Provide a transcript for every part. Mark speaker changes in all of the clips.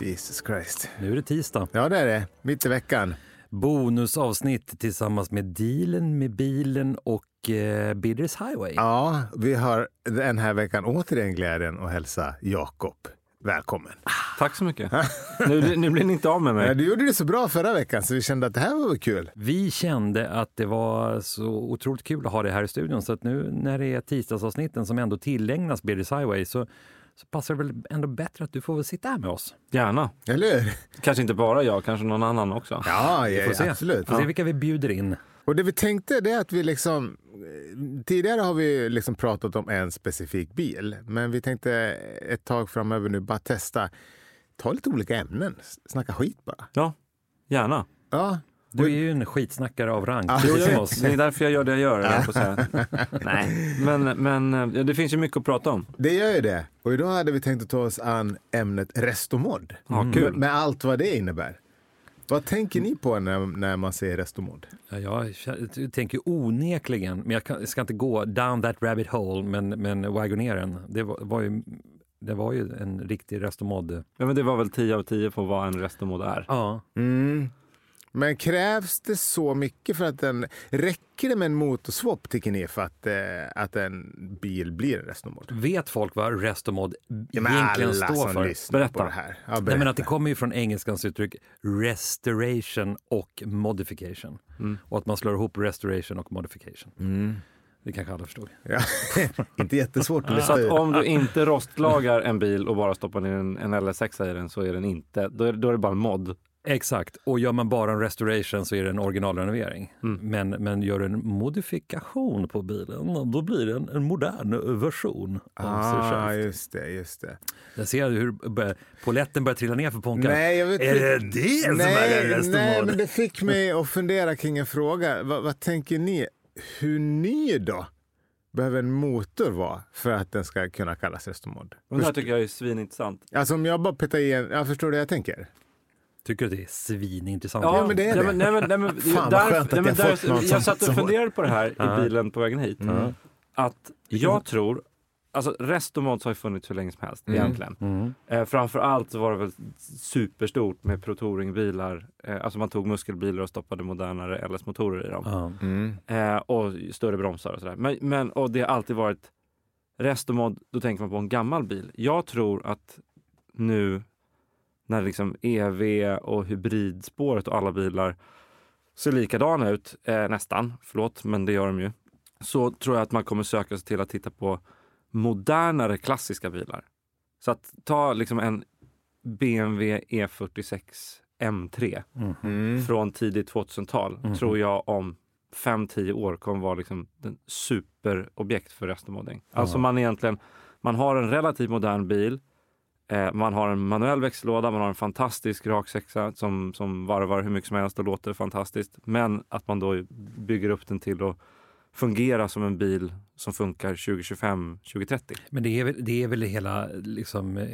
Speaker 1: Jesus Christ.
Speaker 2: Nu är det tisdag.
Speaker 1: Ja, det är det. Mitt i veckan.
Speaker 2: Bonusavsnitt tillsammans med dealen, med bilen och eh, Bidders Highway.
Speaker 1: Ja, vi har den här veckan återigen glädjen att hälsa Jakob välkommen.
Speaker 3: Tack så mycket. Nu, nu blir ni inte av med
Speaker 1: Ja,
Speaker 3: mig.
Speaker 1: Du gjorde det så bra förra veckan så vi kände att det här var väl kul.
Speaker 2: Vi kände att det var så otroligt kul att ha det här i studion så att nu när det är tisdagsavsnitten som ändå tillägnas Bidders Highway så, så passar det väl ändå bättre att du får väl sitta här med oss.
Speaker 3: Gärna.
Speaker 1: Eller hur?
Speaker 3: Kanske inte bara jag, kanske någon annan också.
Speaker 1: Ja, ja
Speaker 2: Får se.
Speaker 1: absolut.
Speaker 2: Får se vilka vi bjuder in.
Speaker 1: Och det vi tänkte det är att vi liksom... eh, Tidigare har vi liksom pratat om en specifik bil, men vi tänkte ett tag framöver nu bara testa. Ta lite olika ämnen, s- snacka skit bara.
Speaker 3: Ja, gärna.
Speaker 1: Ja,
Speaker 2: Du är ju en skitsnackare av rang,
Speaker 1: Ja,
Speaker 2: precis
Speaker 1: jag
Speaker 2: som
Speaker 1: vet.
Speaker 2: oss.
Speaker 3: Det är därför jag gör det jag gör. höll jag på att säga. Nej, men, men eh, det finns ju mycket att prata om.
Speaker 1: det gör ju det. Och idag hade vi tänkt att ta oss an ämnet restomod. Mm.
Speaker 3: Ja, kul.
Speaker 1: Med allt vad det innebär. Vad tänker ni på när, när man säger restomod?
Speaker 2: Ja, Jag k- tänker onekligen, men jag, kan, jag ska inte gå down that rabbit hole, men, men Wagoneren, det var, var ju det var ju en riktig restomod.
Speaker 3: Ja, men det var väl 10 av 10 på vad en restomod är.
Speaker 2: Ja.
Speaker 1: Men krävs det så mycket för att den... Räcker det med en motorswap tycker ni för att, eh, att en bil blir en restomod?
Speaker 2: Vet folk vad restomod
Speaker 1: Ja, men
Speaker 2: egentligen
Speaker 1: alla
Speaker 2: står
Speaker 1: som
Speaker 2: för?
Speaker 1: lyssnar på
Speaker 3: Berätta.
Speaker 1: det här. Ja,
Speaker 2: Nej, men att det
Speaker 1: berätta.
Speaker 2: kommer ju från engelskans uttryck restoration och modification.
Speaker 1: Mm.
Speaker 2: Och att man slår ihop restoration och modification. Det kanske alla förstod.
Speaker 1: Ja. inte jättesvårt att
Speaker 3: Så
Speaker 1: lista
Speaker 3: att
Speaker 1: ut.
Speaker 3: om du inte rostlagar en bil och bara stoppar ner en, en LS6 i den så är den inte, då är, då är det bara en mod.
Speaker 2: Exakt, och gör man bara en restoration så är det en originalrenovering.
Speaker 1: Mm.
Speaker 2: Men, men gör du en modifikation på bilen, då blir det en, en modern version av sig
Speaker 1: Ah,
Speaker 2: själv.
Speaker 1: just det, just det.
Speaker 2: Jag ser hur bör- polletten börjar trilla ner för Ponkan.
Speaker 1: Nej, jag vet
Speaker 2: är
Speaker 1: inte.
Speaker 2: det det som är
Speaker 1: Nej,
Speaker 2: en
Speaker 1: nej, men
Speaker 2: restomod?
Speaker 1: det fick mig att fundera kring en fråga. Vad- vad tänker ni? Hur ny då behöver en motor vara för att den ska kunna kallas restomod?
Speaker 3: Och det här tycker jag är svinintressant.
Speaker 1: Alltså om jag bara petar i en... Jag förstår du vad jag tänker?
Speaker 2: Tycker du att det är svinintressant?
Speaker 1: Ja, men det är
Speaker 3: nej,
Speaker 1: det.
Speaker 3: Men, nej, men, nej, men,
Speaker 1: Fan, vad
Speaker 3: därför-
Speaker 1: skönt att
Speaker 3: nej, men
Speaker 1: jag fått någon
Speaker 3: jag
Speaker 1: som-
Speaker 3: satt
Speaker 1: som-
Speaker 3: och funderade på det här i bilen på vägen hit.
Speaker 1: Mm.
Speaker 3: Att jag tror, alltså Restomods har ju funnits hur länge som helst
Speaker 1: Mm.
Speaker 3: egentligen.
Speaker 2: Mm.
Speaker 3: Eh, framför allt så var det väl superstort med protoringbilar. Eh, alltså man tog muskelbilar och stoppade modernare LS-motorer i dem.
Speaker 2: Ja.
Speaker 3: Eh, och större bromsar och sådär. Men, men, och det har alltid varit restomod, då tänker man på en gammal bil. Jag tror att nu när liksom EV och hybridspåret och alla bilar ser likadana ut, eh, nästan, förlåt, men det gör de ju, så tror jag att man kommer söka sig till att titta på modernare klassiska bilar. Så att ta liksom en BMW E46 M3
Speaker 1: Mm.
Speaker 3: från tidigt 2000-tal tror jag om 5-10 år kommer vara liksom den superobjekt för restomodding. Alltså man egentligen, man har en relativt modern bil, eh, man har en manuell växellåda, man har en fantastisk raksexa som, som varvar hur mycket som helst och låter fantastiskt. Men att man då bygger upp den till att fungera som en bil som funkar 2025, 2030.
Speaker 2: Men det är väl, det är väl hela liksom, eh,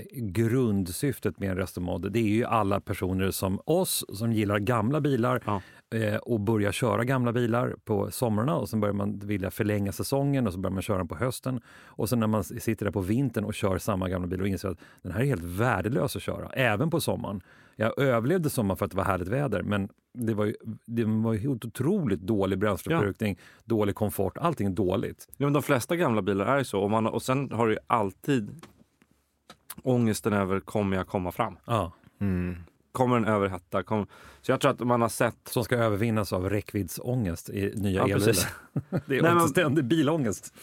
Speaker 2: grundsyftet med en restomod. Det är ju alla personer som oss som gillar gamla bilar
Speaker 3: Ja.
Speaker 2: eh, och börjar köra gamla bilar på somrarna och sen börjar man vilja förlänga säsongen och så börjar man köra den på hösten. Och sen när man s- sitter där på vintern och kör samma gamla bil och inser att den här är helt värdelös att köra, även på sommaren. Jag överlevde sommaren för att det var härligt väder men det var ju, det var ju helt otroligt dålig bränsleförbrukning, dålig komfort, allting är dåligt.
Speaker 3: Ja, men de flesta gamla bilar är ju så och, man, och sen har du ju alltid ångesten över kommer jag komma fram?
Speaker 2: Ja.
Speaker 3: Kommer den överhetta? Kommer... Så jag tror att man har sett
Speaker 2: som ska övervinnas av räckviddsångest i nya
Speaker 3: Ja, precis.
Speaker 2: elbilar. Det är
Speaker 3: Nej, men-
Speaker 2: också ständig bilångest.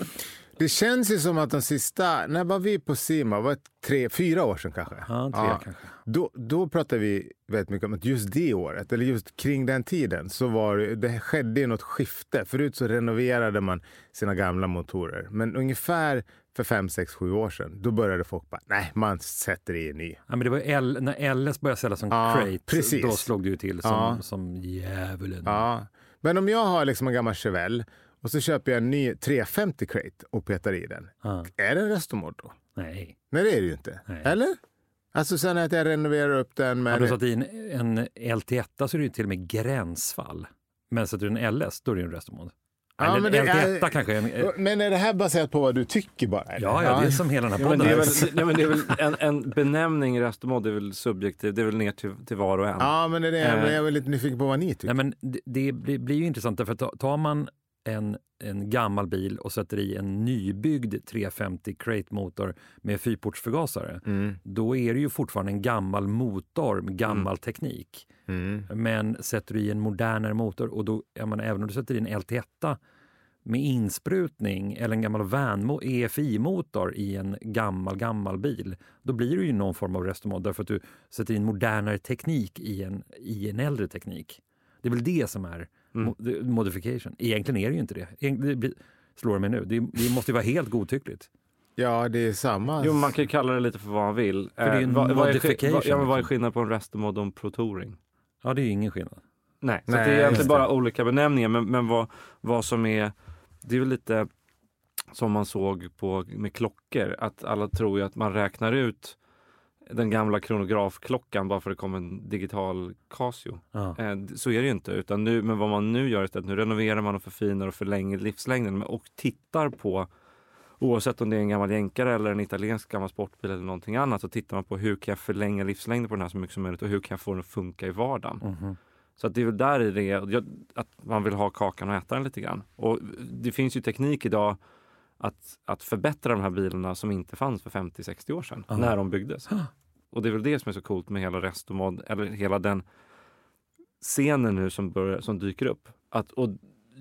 Speaker 1: Det känns ju som att de sista, när var vi på Sima? Var det tre, fyra år sedan kanske?
Speaker 2: Ja, tre kanske.
Speaker 1: Då, då pratade vi väldigt mycket om att just det året, eller just kring den tiden, så var det, det skedde ju något skifte. Förut så renoverade man sina gamla motorer. Men ungefär för fem, sex, sju år sedan, då började folk bara, nej, man sätter i en ny.
Speaker 2: Ja, men det var ju L, när LS började säljas som
Speaker 1: Ja,
Speaker 2: crate,
Speaker 1: precis.
Speaker 2: då slog det ju till som,
Speaker 1: Ja.
Speaker 2: som djävulen.
Speaker 1: Ja. Men om jag har liksom en gammal Chevelle och så köper jag en ny 350 crate och petar i den.
Speaker 2: Ja.
Speaker 1: Är det en restomod då?
Speaker 2: Nej.
Speaker 1: Nej, det är det ju inte.
Speaker 2: Nej.
Speaker 1: Eller? Alltså sen att jag renoverar upp den med...
Speaker 2: Hade du satt i en, en LT1 så är det ju till och med gränsfall. Men sätter du en LS, då är det ju en restomod.
Speaker 1: Ja,
Speaker 2: Eller
Speaker 1: men
Speaker 2: en
Speaker 1: det-
Speaker 2: etta
Speaker 1: jag-
Speaker 2: kanske. En, ja,
Speaker 1: Men är det här baserat på vad du tycker bara? eller?
Speaker 2: eh. ja, det är som hela den här
Speaker 3: Ja, men
Speaker 2: podden.
Speaker 3: det
Speaker 2: här.
Speaker 3: är väl, ja, men det är väl en, en benämning i restmod, det är väl subjektiv, det är väl ner till, till var och en.
Speaker 1: Ja, men det är det.
Speaker 3: Eh.
Speaker 1: Men jag är väl lite nyfiken på vad ni tycker.
Speaker 2: Nej, men det, det blir blir ju intressant, därför att ta- tar man en, en gammal bil och sätter i en nybyggd 350 crate-motor med fyrportsförgasare,
Speaker 1: Mm,
Speaker 2: då är det ju fortfarande en gammal motor med gammal teknik.
Speaker 1: mm.
Speaker 2: Men sätter du i en modernare motor och då, jag menar, även om du sätter i en LT1 med insprutning eller en gammal van EFI-motor i en gammal, gammal bil, då blir det ju någon form av restomod därför att du sätter in modernare teknik i en, i en äldre teknik. Det är väl det som är mo- the- modification. Egentligen är det ju inte det. Egentligen, det blir, slår det mig nu. Det, det måste ju vara helt godtyckligt.
Speaker 1: Ja, det är samma.
Speaker 3: Jo, man kan ju kalla det lite för vad man vill. För
Speaker 2: det är ju en
Speaker 3: vad, är, skill-
Speaker 2: modification,
Speaker 3: vad, ja, men vad är
Speaker 2: liksom.
Speaker 3: skillnaden på en restmod och en protouring?
Speaker 2: Ja, det är ju ingen skillnad.
Speaker 3: Nej, så
Speaker 1: Nej,
Speaker 3: det är
Speaker 1: just
Speaker 3: egentligen
Speaker 1: det.
Speaker 3: bara olika benämningar. Men, men vad, vad som är... Det är väl lite som man såg på, med klockor. Att alla tror ju att man räknar ut den gamla kronografklockan bara för att det kom en digital Casio.
Speaker 2: Ja.
Speaker 3: Eh, d- så är det ju inte. Utan nu, men vad man nu gör istället, nu renoverar man och förfinar och förlänger livslängden men- och tittar på Oavsett om det är en gammal jänkare eller en italiensk gammal sportbil eller någonting annat så tittar man på hur kan jag förlänga livslängden på den här så mycket som möjligt och hur kan jag få den att funka i vardagen.
Speaker 2: Mhm.
Speaker 3: Så att det är väl där i det jag- att man vill ha kakan och äta den lite grann. Och det finns ju teknik idag att, att förbättra de här bilarna som inte fanns för 50-60 år sedan
Speaker 2: Ja.
Speaker 3: när de byggdes.
Speaker 2: Ah.
Speaker 3: Och det är väl det som är så coolt med hela Restomod, eller hela den scenen nu som, börjar, som dyker upp. Att, och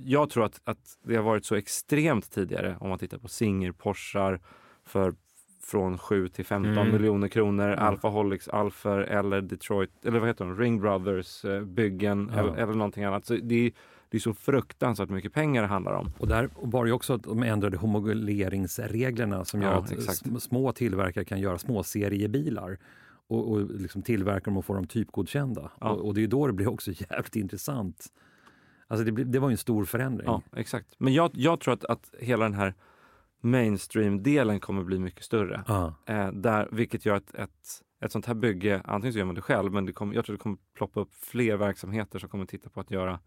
Speaker 3: jag tror att, att det har varit så extremt tidigare om man tittar på Singer-Porschar för från 7 till 15
Speaker 1: Mm.
Speaker 3: miljoner kronor, Alfa Holix, Alfa eller Detroit, eller vad heter de, Ring Brothers eh, byggen
Speaker 2: Ja.
Speaker 3: eller, eller någonting annat. Så det, är, det är så fruktansvärt mycket pengar det handlar om.
Speaker 2: Och där var det ju också att de ändrade homologeringsreglerna som gör
Speaker 3: Ja,
Speaker 2: att
Speaker 3: exakt.
Speaker 2: sm- små tillverkare kan göra små seriebilar och, och liksom tillverka dem och få dem typgodkända.
Speaker 3: Ja.
Speaker 2: Och, och det är ju då det blir också jävligt intressant. Alltså det, blir- det var ju en stor förändring.
Speaker 3: Ja, exakt. Men jag, jag tror att, att hela den här mainstream-delen kommer bli mycket större.
Speaker 2: Ja.
Speaker 3: Eh, där, vilket gör att ett, ett sånt här bygge, antingen så gör man det själv, men det kommer, jag tror det kommer ploppa upp fler verksamheter som kommer titta på att göra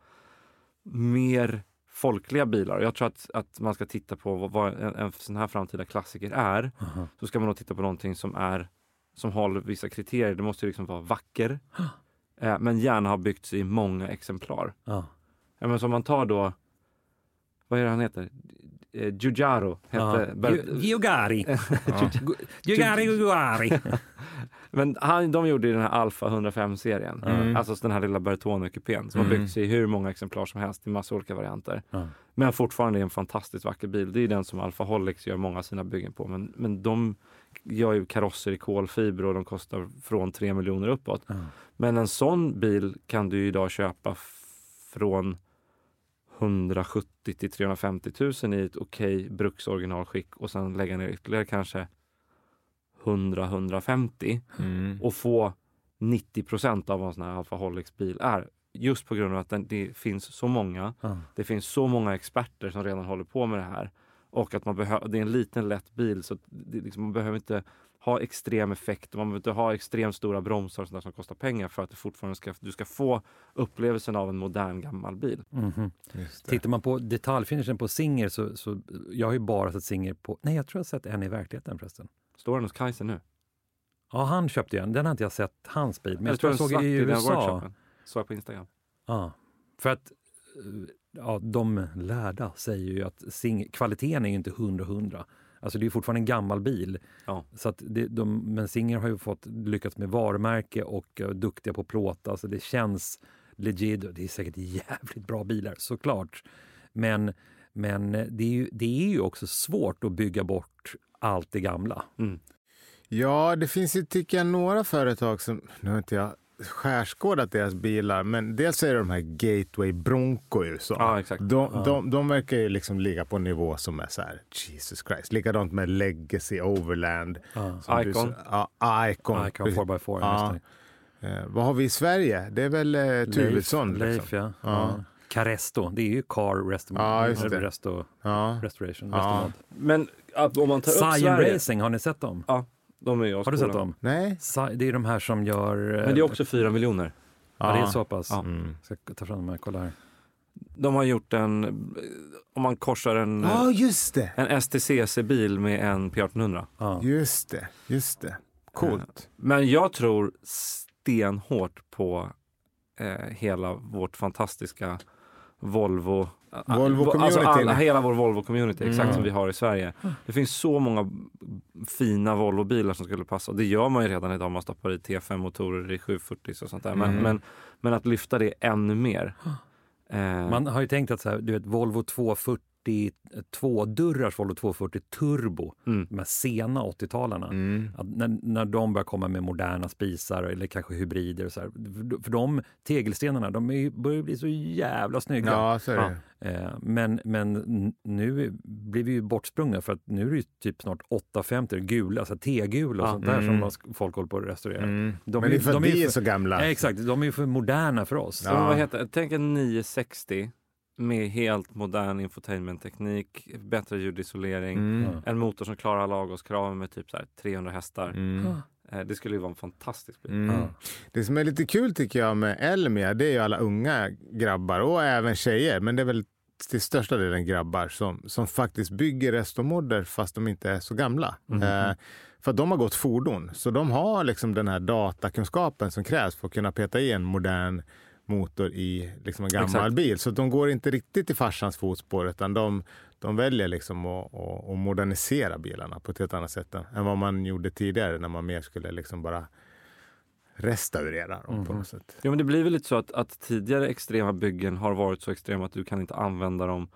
Speaker 3: mer folkliga bilar. Jag tror att, att man ska titta på vad, vad en, en sån här framtida klassiker är.
Speaker 2: aha.
Speaker 3: Så ska man nog titta på någonting som är som håller vissa kriterier. Det måste ju liksom vara vacker, eh, men gärna ha byggts i många exemplar.
Speaker 2: Ja.
Speaker 3: Ja, men som man tar då, vad är det han heter? Eh, Giugiaro hette
Speaker 2: Ja.
Speaker 3: Ber-
Speaker 2: Gi- ah. Giugari. Ah.
Speaker 3: Typ-
Speaker 2: Gu- Giugari, Giugari.
Speaker 3: Men han, de gjorde ju den här Alfa 105-serien,
Speaker 2: Mm.
Speaker 3: alltså den här lilla Bertone-kupén som har byggts i hur många exemplar som helst i massa olika varianter.
Speaker 2: Ja.
Speaker 3: Men fortfarande är en fantastiskt vacker bil. Det är ju den som Alfa Holix gör många av sina byggen på. Men, men de gör ju karosser i kolfiber och de kostar från 3 miljoner uppåt.
Speaker 2: Ja.
Speaker 3: Men en sån bil kan du ju idag köpa f- från 170 000 till 350 000 i ett okej bruksoriginalskick och sen lägga ner ytterligare kanske 100-150
Speaker 1: Mm.
Speaker 3: och få 90 procent av vad en sån här Alfa Holix bil är. Just på grund av att den, det finns så många.
Speaker 2: Ja.
Speaker 3: Det finns så många experter som redan håller på med det här. Och att man behöver, det är en liten lätt bil så att det, liksom, man behöver inte ha extrem effekt. Man behöver inte ha extremt stora bromsar och sånt där som kostar pengar för att det fortfarande ska, du ska få upplevelsen av en modern gammal bil.
Speaker 2: Mhm.
Speaker 1: Just det.
Speaker 2: Tittar man på detaljfinishen på Singer så, så jag har ju bara sett Singer på, nej jag tror jag har sett en i verkligheten förresten.
Speaker 3: Står den hos Kaiser nu?
Speaker 2: Ja, han köpte ju en. Den har inte jag sett, hans bil. Men jag,
Speaker 3: Eller
Speaker 2: tror jag
Speaker 3: står
Speaker 2: såg
Speaker 3: den
Speaker 2: i
Speaker 3: svart den
Speaker 2: USA.
Speaker 3: workshopen? Såg jag på Instagram.
Speaker 2: Ja, för att eh, ja, de lärda säger ju att sing- kvaliteten är ju inte hundra hundra. Alltså det är ju fortfarande en gammal bil.
Speaker 3: Ja.
Speaker 2: Så att det, de, men Singer har ju fått lyckats med varumärke och eh, duktiga på plåta. Alltså det känns legit. och Det är säkert jävligt bra bilar såklart. Men, men eh, det, är ju, det är ju också svårt att bygga bort allt det gamla.
Speaker 3: Mm.
Speaker 1: Ja, det finns ju tycker jag några företag som, nu har inte jag skärskådat deras bilar, men dels är det de här Gateway Bronco i USA.
Speaker 3: Ja, exakt.
Speaker 1: De, de, de verkar ju liksom ligga på en nivå som är så här, Jesus Christ. Likadant med Legacy Overland.
Speaker 2: Ja.
Speaker 1: som du
Speaker 3: Icon.
Speaker 1: sa. Ja, Icon.
Speaker 2: Icon 4x4.
Speaker 1: Ja.
Speaker 2: just
Speaker 1: Eh, vad har vi i Sverige? Det är väl eh,
Speaker 2: det.
Speaker 1: Tuvesson?
Speaker 2: Leif,
Speaker 1: liksom.
Speaker 2: Leif ja. ja. Caresto, det är ju Car rest-
Speaker 1: Ja, just det.
Speaker 2: Resto
Speaker 1: Ja.
Speaker 2: Restoration.
Speaker 1: Ja.
Speaker 3: Men att, om man tar upp
Speaker 2: Scion
Speaker 3: Sverige.
Speaker 2: Racing, har ni sett dem?
Speaker 3: Ja, de är ju
Speaker 2: Har du sett dem?
Speaker 1: Nej?
Speaker 2: Sci- Det är de här som gör... eh,
Speaker 3: Men det är också fyra miljoner.
Speaker 2: Ja, det är så pass.
Speaker 3: Ja.
Speaker 2: Ska ta fram dem här, kolla här.
Speaker 3: De har gjort en, om man korsar en,
Speaker 1: Ja, just det!
Speaker 3: en STCC-bil med en P1800.
Speaker 2: Ja.
Speaker 1: Just det, just det. Coolt.
Speaker 3: Men jag tror stenhårt på eh, hela vårt fantastiska Volvo...
Speaker 1: Volvo-community.
Speaker 3: Alltså alla, hela vår Volvo-community, exakt
Speaker 2: Mm.
Speaker 3: som vi har i Sverige. Det finns så många fina Volvo-bilar som skulle passa. Och det gör man ju redan idag. Man stoppar i T5-motorer i 740 och sånt där. Men,
Speaker 1: Mm.
Speaker 3: men, men att lyfta det ännu mer. Eh,
Speaker 2: Man har ju tänkt att så här, du vet, Volvo 240, tvådörrars Volvo 240 Turbo,
Speaker 3: mm,
Speaker 2: de här sena 80-talarna.
Speaker 1: Mm.
Speaker 2: Att när, när de börjar komma med moderna spisar eller kanske hybrider och så här. För- För de tegelstenarna, de är, ju- börjar bli så jävla snygga.
Speaker 1: Ja, så är det.
Speaker 2: Eh, men, men n- nu blir vi ju bortsprungna för att nu är det ju typ snart 850 gula, alltså T-gula och
Speaker 3: Ja.
Speaker 2: sånt där som
Speaker 1: Mm.
Speaker 2: man sk- folk håller på att restaurera.
Speaker 1: Mm.
Speaker 2: De
Speaker 1: Men det är för att
Speaker 2: de
Speaker 1: vi är
Speaker 2: för,
Speaker 1: så gamla.
Speaker 2: eh, Exakt, de är ju för moderna för oss.
Speaker 1: Ja.
Speaker 3: Så vad heter, det? tänk en 960 med helt modern infotainment-teknik, bättre ljudisolering,
Speaker 1: Mm.
Speaker 3: en motor som klarar lagoskraven med typ så här 300 hästar.
Speaker 1: Mm.
Speaker 3: Eh, Det skulle ju vara en fantastisk bil.
Speaker 1: Mm.
Speaker 2: Ja.
Speaker 1: Det som är lite kul tycker jag med Elmia, det är ju alla unga grabbar och även tjejer, men det är väl till största delen grabbar som, som faktiskt bygger restomodder fast de inte är så gamla.
Speaker 2: Mm.
Speaker 1: Eh, för att de har gått fordon, så de har liksom den här datakunskapen som krävs för att kunna peta i en modern motor i liksom en gammal
Speaker 3: Exakt.
Speaker 1: bil. Så de går inte riktigt i farsans fotspår utan de, de väljer liksom att, att, att modernisera bilarna på ett helt annat sätt än, än vad man gjorde tidigare när man mer skulle liksom bara restaurera dem
Speaker 3: Mm-hmm.
Speaker 1: på något sätt.
Speaker 3: Ja, men det blir väl lite så att, att tidigare extrema byggen har varit så extrema att du kan inte använda dem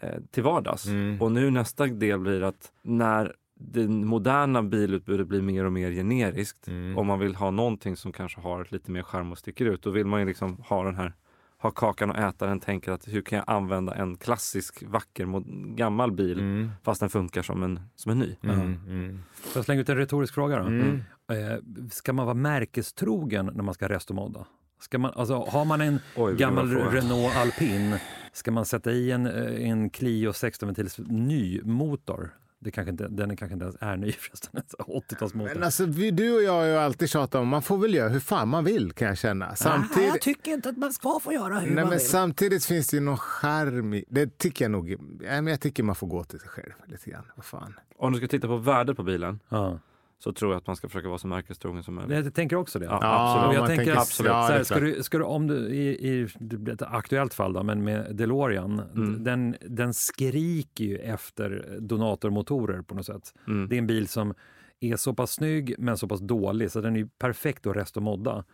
Speaker 3: eh, till vardags.
Speaker 1: Mm.
Speaker 3: Och nu nästa del blir att när det moderna bilutbudet blir mer och mer generiskt,
Speaker 1: Mm.
Speaker 3: om man vill ha någonting som kanske har lite mer skärm och sticker ut, då vill man ju liksom ha den här ha kakan och äta den, tänker att hur kan jag använda en klassisk, vacker, mod- gammal bil
Speaker 1: Mm.
Speaker 3: fast den funkar som en, som en ny.
Speaker 1: Mm. Mm.
Speaker 2: Får jag slänga ut en retorisk fråga då?
Speaker 1: Mm.
Speaker 2: Eh, Ska man vara märkestrogen när man ska restomodda? Ska man, alltså, har man en
Speaker 3: Oj, vilken
Speaker 2: gammal
Speaker 3: bra fråga.
Speaker 2: Renault Alpin, ska man sätta i en, eh, en Clio 16-ventils ny motor? Det kanske inte, den är kanske inte ens är ny förresten, en sån här 80-talsmotor.
Speaker 1: Men alltså, vi, du och jag har ju alltid tjatat om man får väl göra hur fan man vill kan jag känna. Samtidigt,
Speaker 2: tycker inte att man ska få göra hur
Speaker 1: nej, men samtidigt finns det ju någon charm i, det tycker jag nog, nej, men jag tycker man får gå till sig själv lite grann. Vad fan.
Speaker 3: Om du ska titta på värdet på bilen
Speaker 2: Ja.
Speaker 3: så tror jag att man ska försöka vara så märkestrogen som möjligt.
Speaker 2: Jag tänker också det.
Speaker 3: Ja,
Speaker 1: Ja,
Speaker 2: Och
Speaker 3: absolut.
Speaker 2: jag
Speaker 1: man
Speaker 2: tänker
Speaker 1: tänker-
Speaker 3: absolut.
Speaker 1: Ja,
Speaker 2: så
Speaker 1: det
Speaker 2: här,
Speaker 1: är
Speaker 2: ska
Speaker 1: klart.
Speaker 2: du, ska du, om du, i, i det blir ett aktuellt fall då, men med DeLorean,
Speaker 3: Mm.
Speaker 2: den, den skriker ju efter donatormotorer på något sätt.
Speaker 3: Mm.
Speaker 2: Det är en bil som är så pass snygg men så pass dålig så den är ju perfekt att restomodda.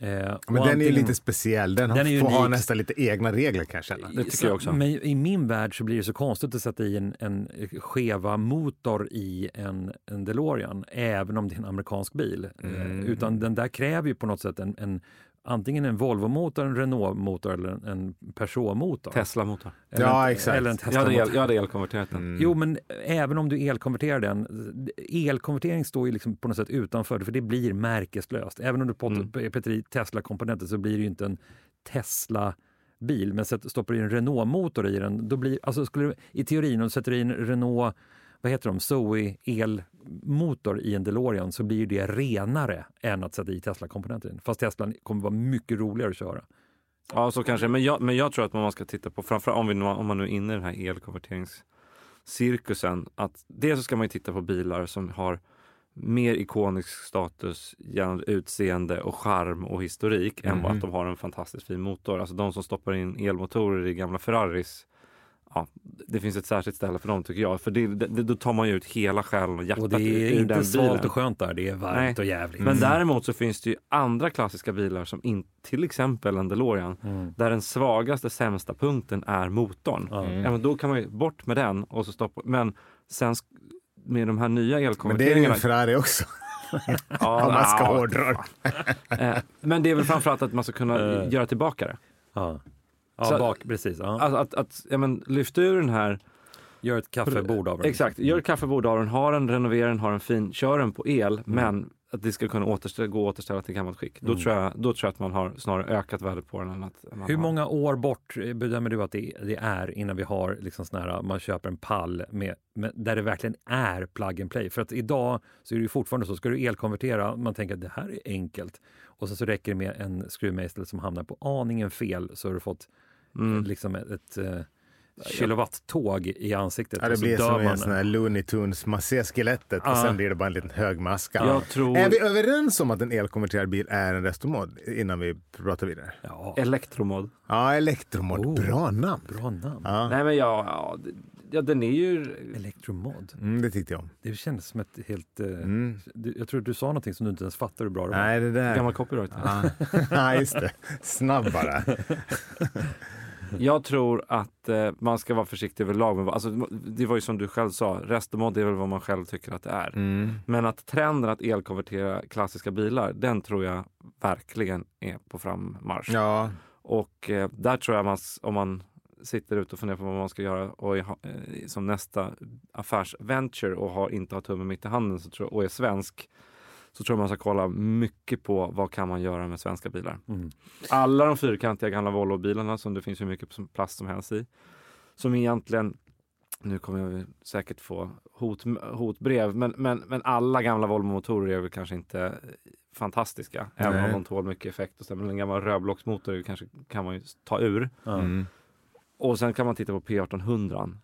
Speaker 2: Eh, och
Speaker 1: Men den är ju
Speaker 2: antingen-
Speaker 1: lite speciell, den,
Speaker 2: Den är ju
Speaker 1: får ha
Speaker 2: unik.
Speaker 1: nästan lite egna regler kan jag känna.
Speaker 3: Det tycker jag också.
Speaker 2: Men i min värld så blir det så konstigt att sätta i en, en skeva motor i en, en DeLorean, även om det är en amerikansk bil. Eh,
Speaker 3: Mm.
Speaker 2: utan den där kräver ju på något sätt en, en antingen en Volvo-motor, en Renault-motor eller en, en Peugeot-motor.
Speaker 3: Tesla-motor.
Speaker 2: Eller,
Speaker 1: Ja,
Speaker 2: en-
Speaker 1: exakt.
Speaker 2: Eller en
Speaker 3: Jag hade,
Speaker 2: Tesla-motor.
Speaker 3: el, jag hade elkonverterat den.
Speaker 2: Jo, men eh, även om du elkonverterar den, eh, elkonvertering står ju liksom på något sätt utanför, för det blir märkeslöst. Även om du
Speaker 3: Mm.
Speaker 2: pot- petar i Tesla-komponenter så blir det ju inte en Tesla-bil, men sätt- stoppar du i en Renault-motor i den, då blir, alltså skulle du, i teorin, om du sätter i en Renault, vad heter de, Zoe elmotor i en DeLorean så blir ju det renare än att sätta i Tesla-komponenter i den. Fast Teslan kommer vara mycket roligare att köra.
Speaker 3: Ja, så kanske. Men jag, men jag tror att man ska titta på, framförallt om, vi, nu- om man nu är inne i den här elkonverteringscirkusen, att dels så ska man ju titta på bilar som har mer ikonisk status genom utseende och charm och historik
Speaker 2: Mhm.
Speaker 3: än bara att de har en fantastiskt fin motor. Alltså de som stoppar in elmotorer i gamla Ferraris. Ja, det finns ett särskilt ställe för dem tycker jag. För det, det, då tar man ju ut hela själen och hjärtat
Speaker 2: Och det
Speaker 3: ur-
Speaker 2: är
Speaker 3: ur den
Speaker 2: inte svalt
Speaker 3: bilen.
Speaker 2: och skönt där, det är varmt
Speaker 3: Nej.
Speaker 2: och jävligt.
Speaker 1: Mm.
Speaker 3: Men däremot så finns det ju andra klassiska bilar som in, till exempel en DeLorean
Speaker 2: Mm.
Speaker 3: där den svagaste, sämsta punkten är motorn.
Speaker 2: Ja.
Speaker 3: Ja, men då kan man ju bort med den och så stoppa. Men sen sk- med de här nya
Speaker 1: Men det är ju
Speaker 3: elkonverteringarna.
Speaker 1: en Ferrari också,
Speaker 3: ja,
Speaker 1: om man ska
Speaker 3: ja,
Speaker 1: hårdra det.
Speaker 3: eh, men det är väl framförallt att man ska kunna
Speaker 2: Eh.
Speaker 3: göra tillbaka det.
Speaker 2: Ja. Ja,
Speaker 3: Så-
Speaker 2: bak, precis. Ja.
Speaker 3: Alltså att, att ja, men, lyfta ur den här.
Speaker 2: Gör ett kaffebord av den.
Speaker 3: Exakt,
Speaker 1: Mm.
Speaker 3: gör ett kaffebord av den, har den, renovera den, har den fin, kör den på el,
Speaker 1: Mm.
Speaker 3: men att det ska kunna återställa, gå att återställa till gammalt skick. Då, tror jag, då tror jag att man har snarare ökat värdet på den än att man
Speaker 2: Hur
Speaker 3: har-
Speaker 2: många år bort eh, bedömer du att det, det är innan vi har liksom sån här, man köper en pall med, med, där det verkligen är plug and play? För att idag så är det ju fortfarande så, ska du elkonvertera, man tänker att det här är enkelt. Och sen så räcker det med en skruvmejsel som hamnar på aningen fel så har du fått
Speaker 3: Mm.
Speaker 2: liksom ett, ett eh, kilowatt-tåg i ansiktet.
Speaker 1: Ja,
Speaker 2: och
Speaker 1: det
Speaker 2: så
Speaker 1: blir
Speaker 2: dör
Speaker 1: som i
Speaker 2: man.
Speaker 1: en sån här Looney Tunes, man ser skelettet och
Speaker 2: Ja.
Speaker 1: sen blir det bara en liten hög maska.
Speaker 3: Jag tror
Speaker 1: Är vi överens om att en elkonverterad bil är en restomod innan vi pratar vidare?
Speaker 2: Ja,
Speaker 3: elektromod.
Speaker 1: Ja, elektromod.
Speaker 2: Oh.
Speaker 1: Bra namn.
Speaker 2: bra namn.
Speaker 1: Ja.
Speaker 3: Nej men ja, ja, d- ja, den är ju...
Speaker 2: Elektromod.
Speaker 1: Mm, det tyckte jag om.
Speaker 2: Det kändes som ett helt... Eh,
Speaker 1: Mm.
Speaker 2: du, jag tror du sa någonting som du inte ens fattar hur bra det var.
Speaker 1: Nej, det där.
Speaker 3: Gammal copyright.
Speaker 1: Ja, ja just det. Snabbare.
Speaker 3: Jag tror att eh, man ska vara försiktig överlag. Med, vad- alltså, det var ju som du själv sa, restomod är väl vad man själv tycker att det är. Men att trenden att elkonvertera klassiska bilar, den tror jag verkligen är på frammarsch.
Speaker 1: Ja.
Speaker 3: Och eh, där tror jag man, s- om man sitter ute och funderar på vad man ska göra och i, ha- eh, som nästa affärsventure och har, inte har tummen mitt i handen så tror, och är svensk så tror jag man ska kolla mycket på vad kan man göra med svenska bilar.
Speaker 2: Mm.
Speaker 3: Alla de fyrkantiga gamla Volvo-bilarna som det finns hur mycket som- plast som helst i. Som egentligen, nu kommer jag väl säkert få hot, hotbrev, men, men, men alla gamla Volvo-motorer är väl kanske inte fantastiska. Även
Speaker 1: Nej.
Speaker 3: om de tål mycket effekt. Och så, men en gammal rödblocksmotor är ju kanske kan man ju ta ur.
Speaker 2: Ja.
Speaker 1: Mm.
Speaker 3: Och sen kan man titta på P1800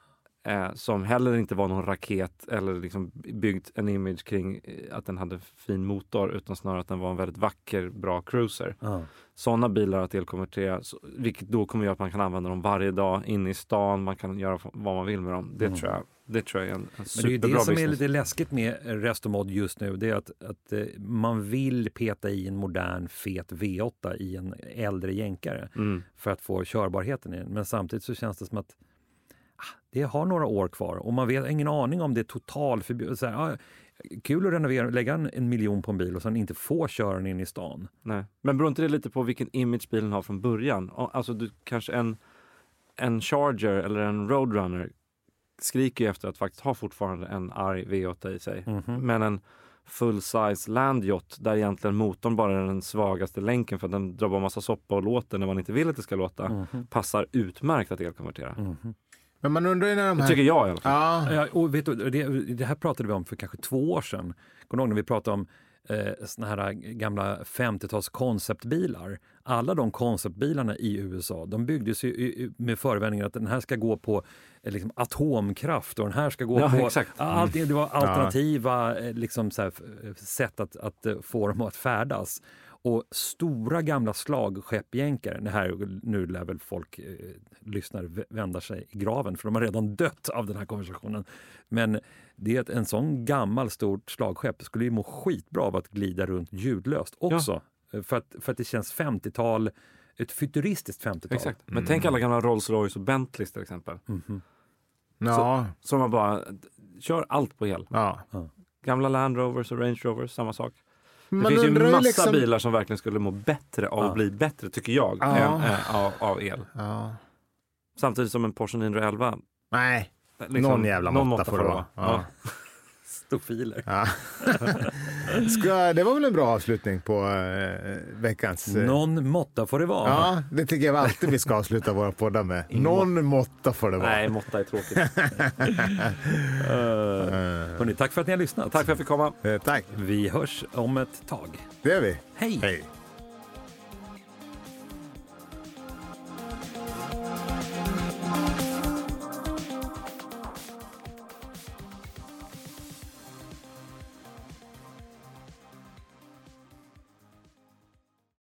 Speaker 3: eh, som heller inte var någon raket eller liksom byggt en image kring eh, att den hade fin motor utan snarare att den var en väldigt vacker, bra cruiser.
Speaker 2: Ja.
Speaker 3: Sådana bilar att elkonvertera, så- vilket då kommer göra att man kan använda dem varje dag inne i stan, man kan göra f- vad man vill med dem. Det,
Speaker 2: Mm.
Speaker 3: tror, jag, det tror jag är en, en
Speaker 2: Men det är ju
Speaker 3: superbra
Speaker 2: det som är
Speaker 3: business.
Speaker 2: lite läskigt med Restomod just nu. Det är att, att eh, man vill peta i en modern fet V8 i en äldre jänkare
Speaker 3: Mm.
Speaker 2: för att få körbarheten i den. Men samtidigt så känns det som att ah, det har några år kvar och man vet har ingen aning om det är totalförbjudet. Så här, ah, kul att renovera, lägga en, en miljon på en bil och sen inte få köra den in i stan.
Speaker 3: Nej. Men beror inte det lite på vilken image bilen har från början? O- Alltså du, kanske en, en Charger eller en Roadrunner skriker ju efter att faktiskt ha fortfarande en arg V8 i sig.
Speaker 2: Mhm.
Speaker 3: Men en full-size landjott där egentligen motorn bara är den svagaste länken för att den drar bara massa soppa och låter när man inte vill att det ska låta.
Speaker 2: Mhm.
Speaker 3: Passar utmärkt att elkonvertera.
Speaker 2: Mhm.
Speaker 1: Men man undrar ju när de
Speaker 3: Det
Speaker 1: här...
Speaker 3: tycker jag i alla
Speaker 1: Ja.
Speaker 3: fall.
Speaker 2: Ja, och vet du, det, det här pratade vi om för kanske två år sedan. Kommer du ihåg när vi pratade om eh, såna här gamla 50-tals konceptbilar? Alla de konceptbilarna i USA, de byggdes ju i- i- med förevändningen att den här ska gå på eh, liksom, atomkraft och den här ska gå
Speaker 3: Ja,
Speaker 2: på...
Speaker 3: exakt. Mm.
Speaker 2: Ja, Allt, det det var alternativa eh, liksom, så här, f- sätt att, att eh, få dem att färdas. Och stora gamla slagskeppjänkare, det här, nu lär väl folk eh, lyssnare v- vända sig i graven för de har redan dött av den här konversationen. Men det är att en sån gammal stort slagskepp skulle ju må skitbra av att glida runt ljudlöst också. Eh, För, att, för att det känns 50-tal, ett futuristiskt 50-tal.
Speaker 3: Exakt. Men tänk alla gamla Rolls Royce och Bentleys till exempel.
Speaker 2: Mhm.
Speaker 1: Ja.
Speaker 3: Som man bara, kör allt på el.
Speaker 1: ja.
Speaker 3: Gamla Land Rovers och Range Rovers, samma sak. Det
Speaker 1: Man
Speaker 3: finns ju
Speaker 1: undrar liksom-
Speaker 3: massa bilar som verkligen skulle må bättre av
Speaker 2: Ja.
Speaker 3: att bli bättre, tycker jag,
Speaker 1: Ja.
Speaker 3: än, eh, av, av el.
Speaker 1: Ja.
Speaker 3: Samtidigt som en Porsche 911.
Speaker 1: Nej,
Speaker 3: eh,
Speaker 1: någon jävla
Speaker 3: någon
Speaker 1: måtta får det vara. Ja.
Speaker 2: Stofiler.
Speaker 1: Ja. Ska, det var väl en bra avslutning på eh, veckans... eh,
Speaker 2: Någon måtta får det vara.
Speaker 1: Ja, det tycker jag alltid vi ska avsluta våra poddar med. Någon måtta får det vara.
Speaker 3: Nej, måtta är tråkigt.
Speaker 2: Hörrni, Eh, tack för att ni har lyssnat.
Speaker 3: Tack för att jag fick komma.
Speaker 1: Eh, tack,
Speaker 2: Vi hörs om ett tag.
Speaker 1: det gör vi.
Speaker 2: Hej!
Speaker 1: Hej.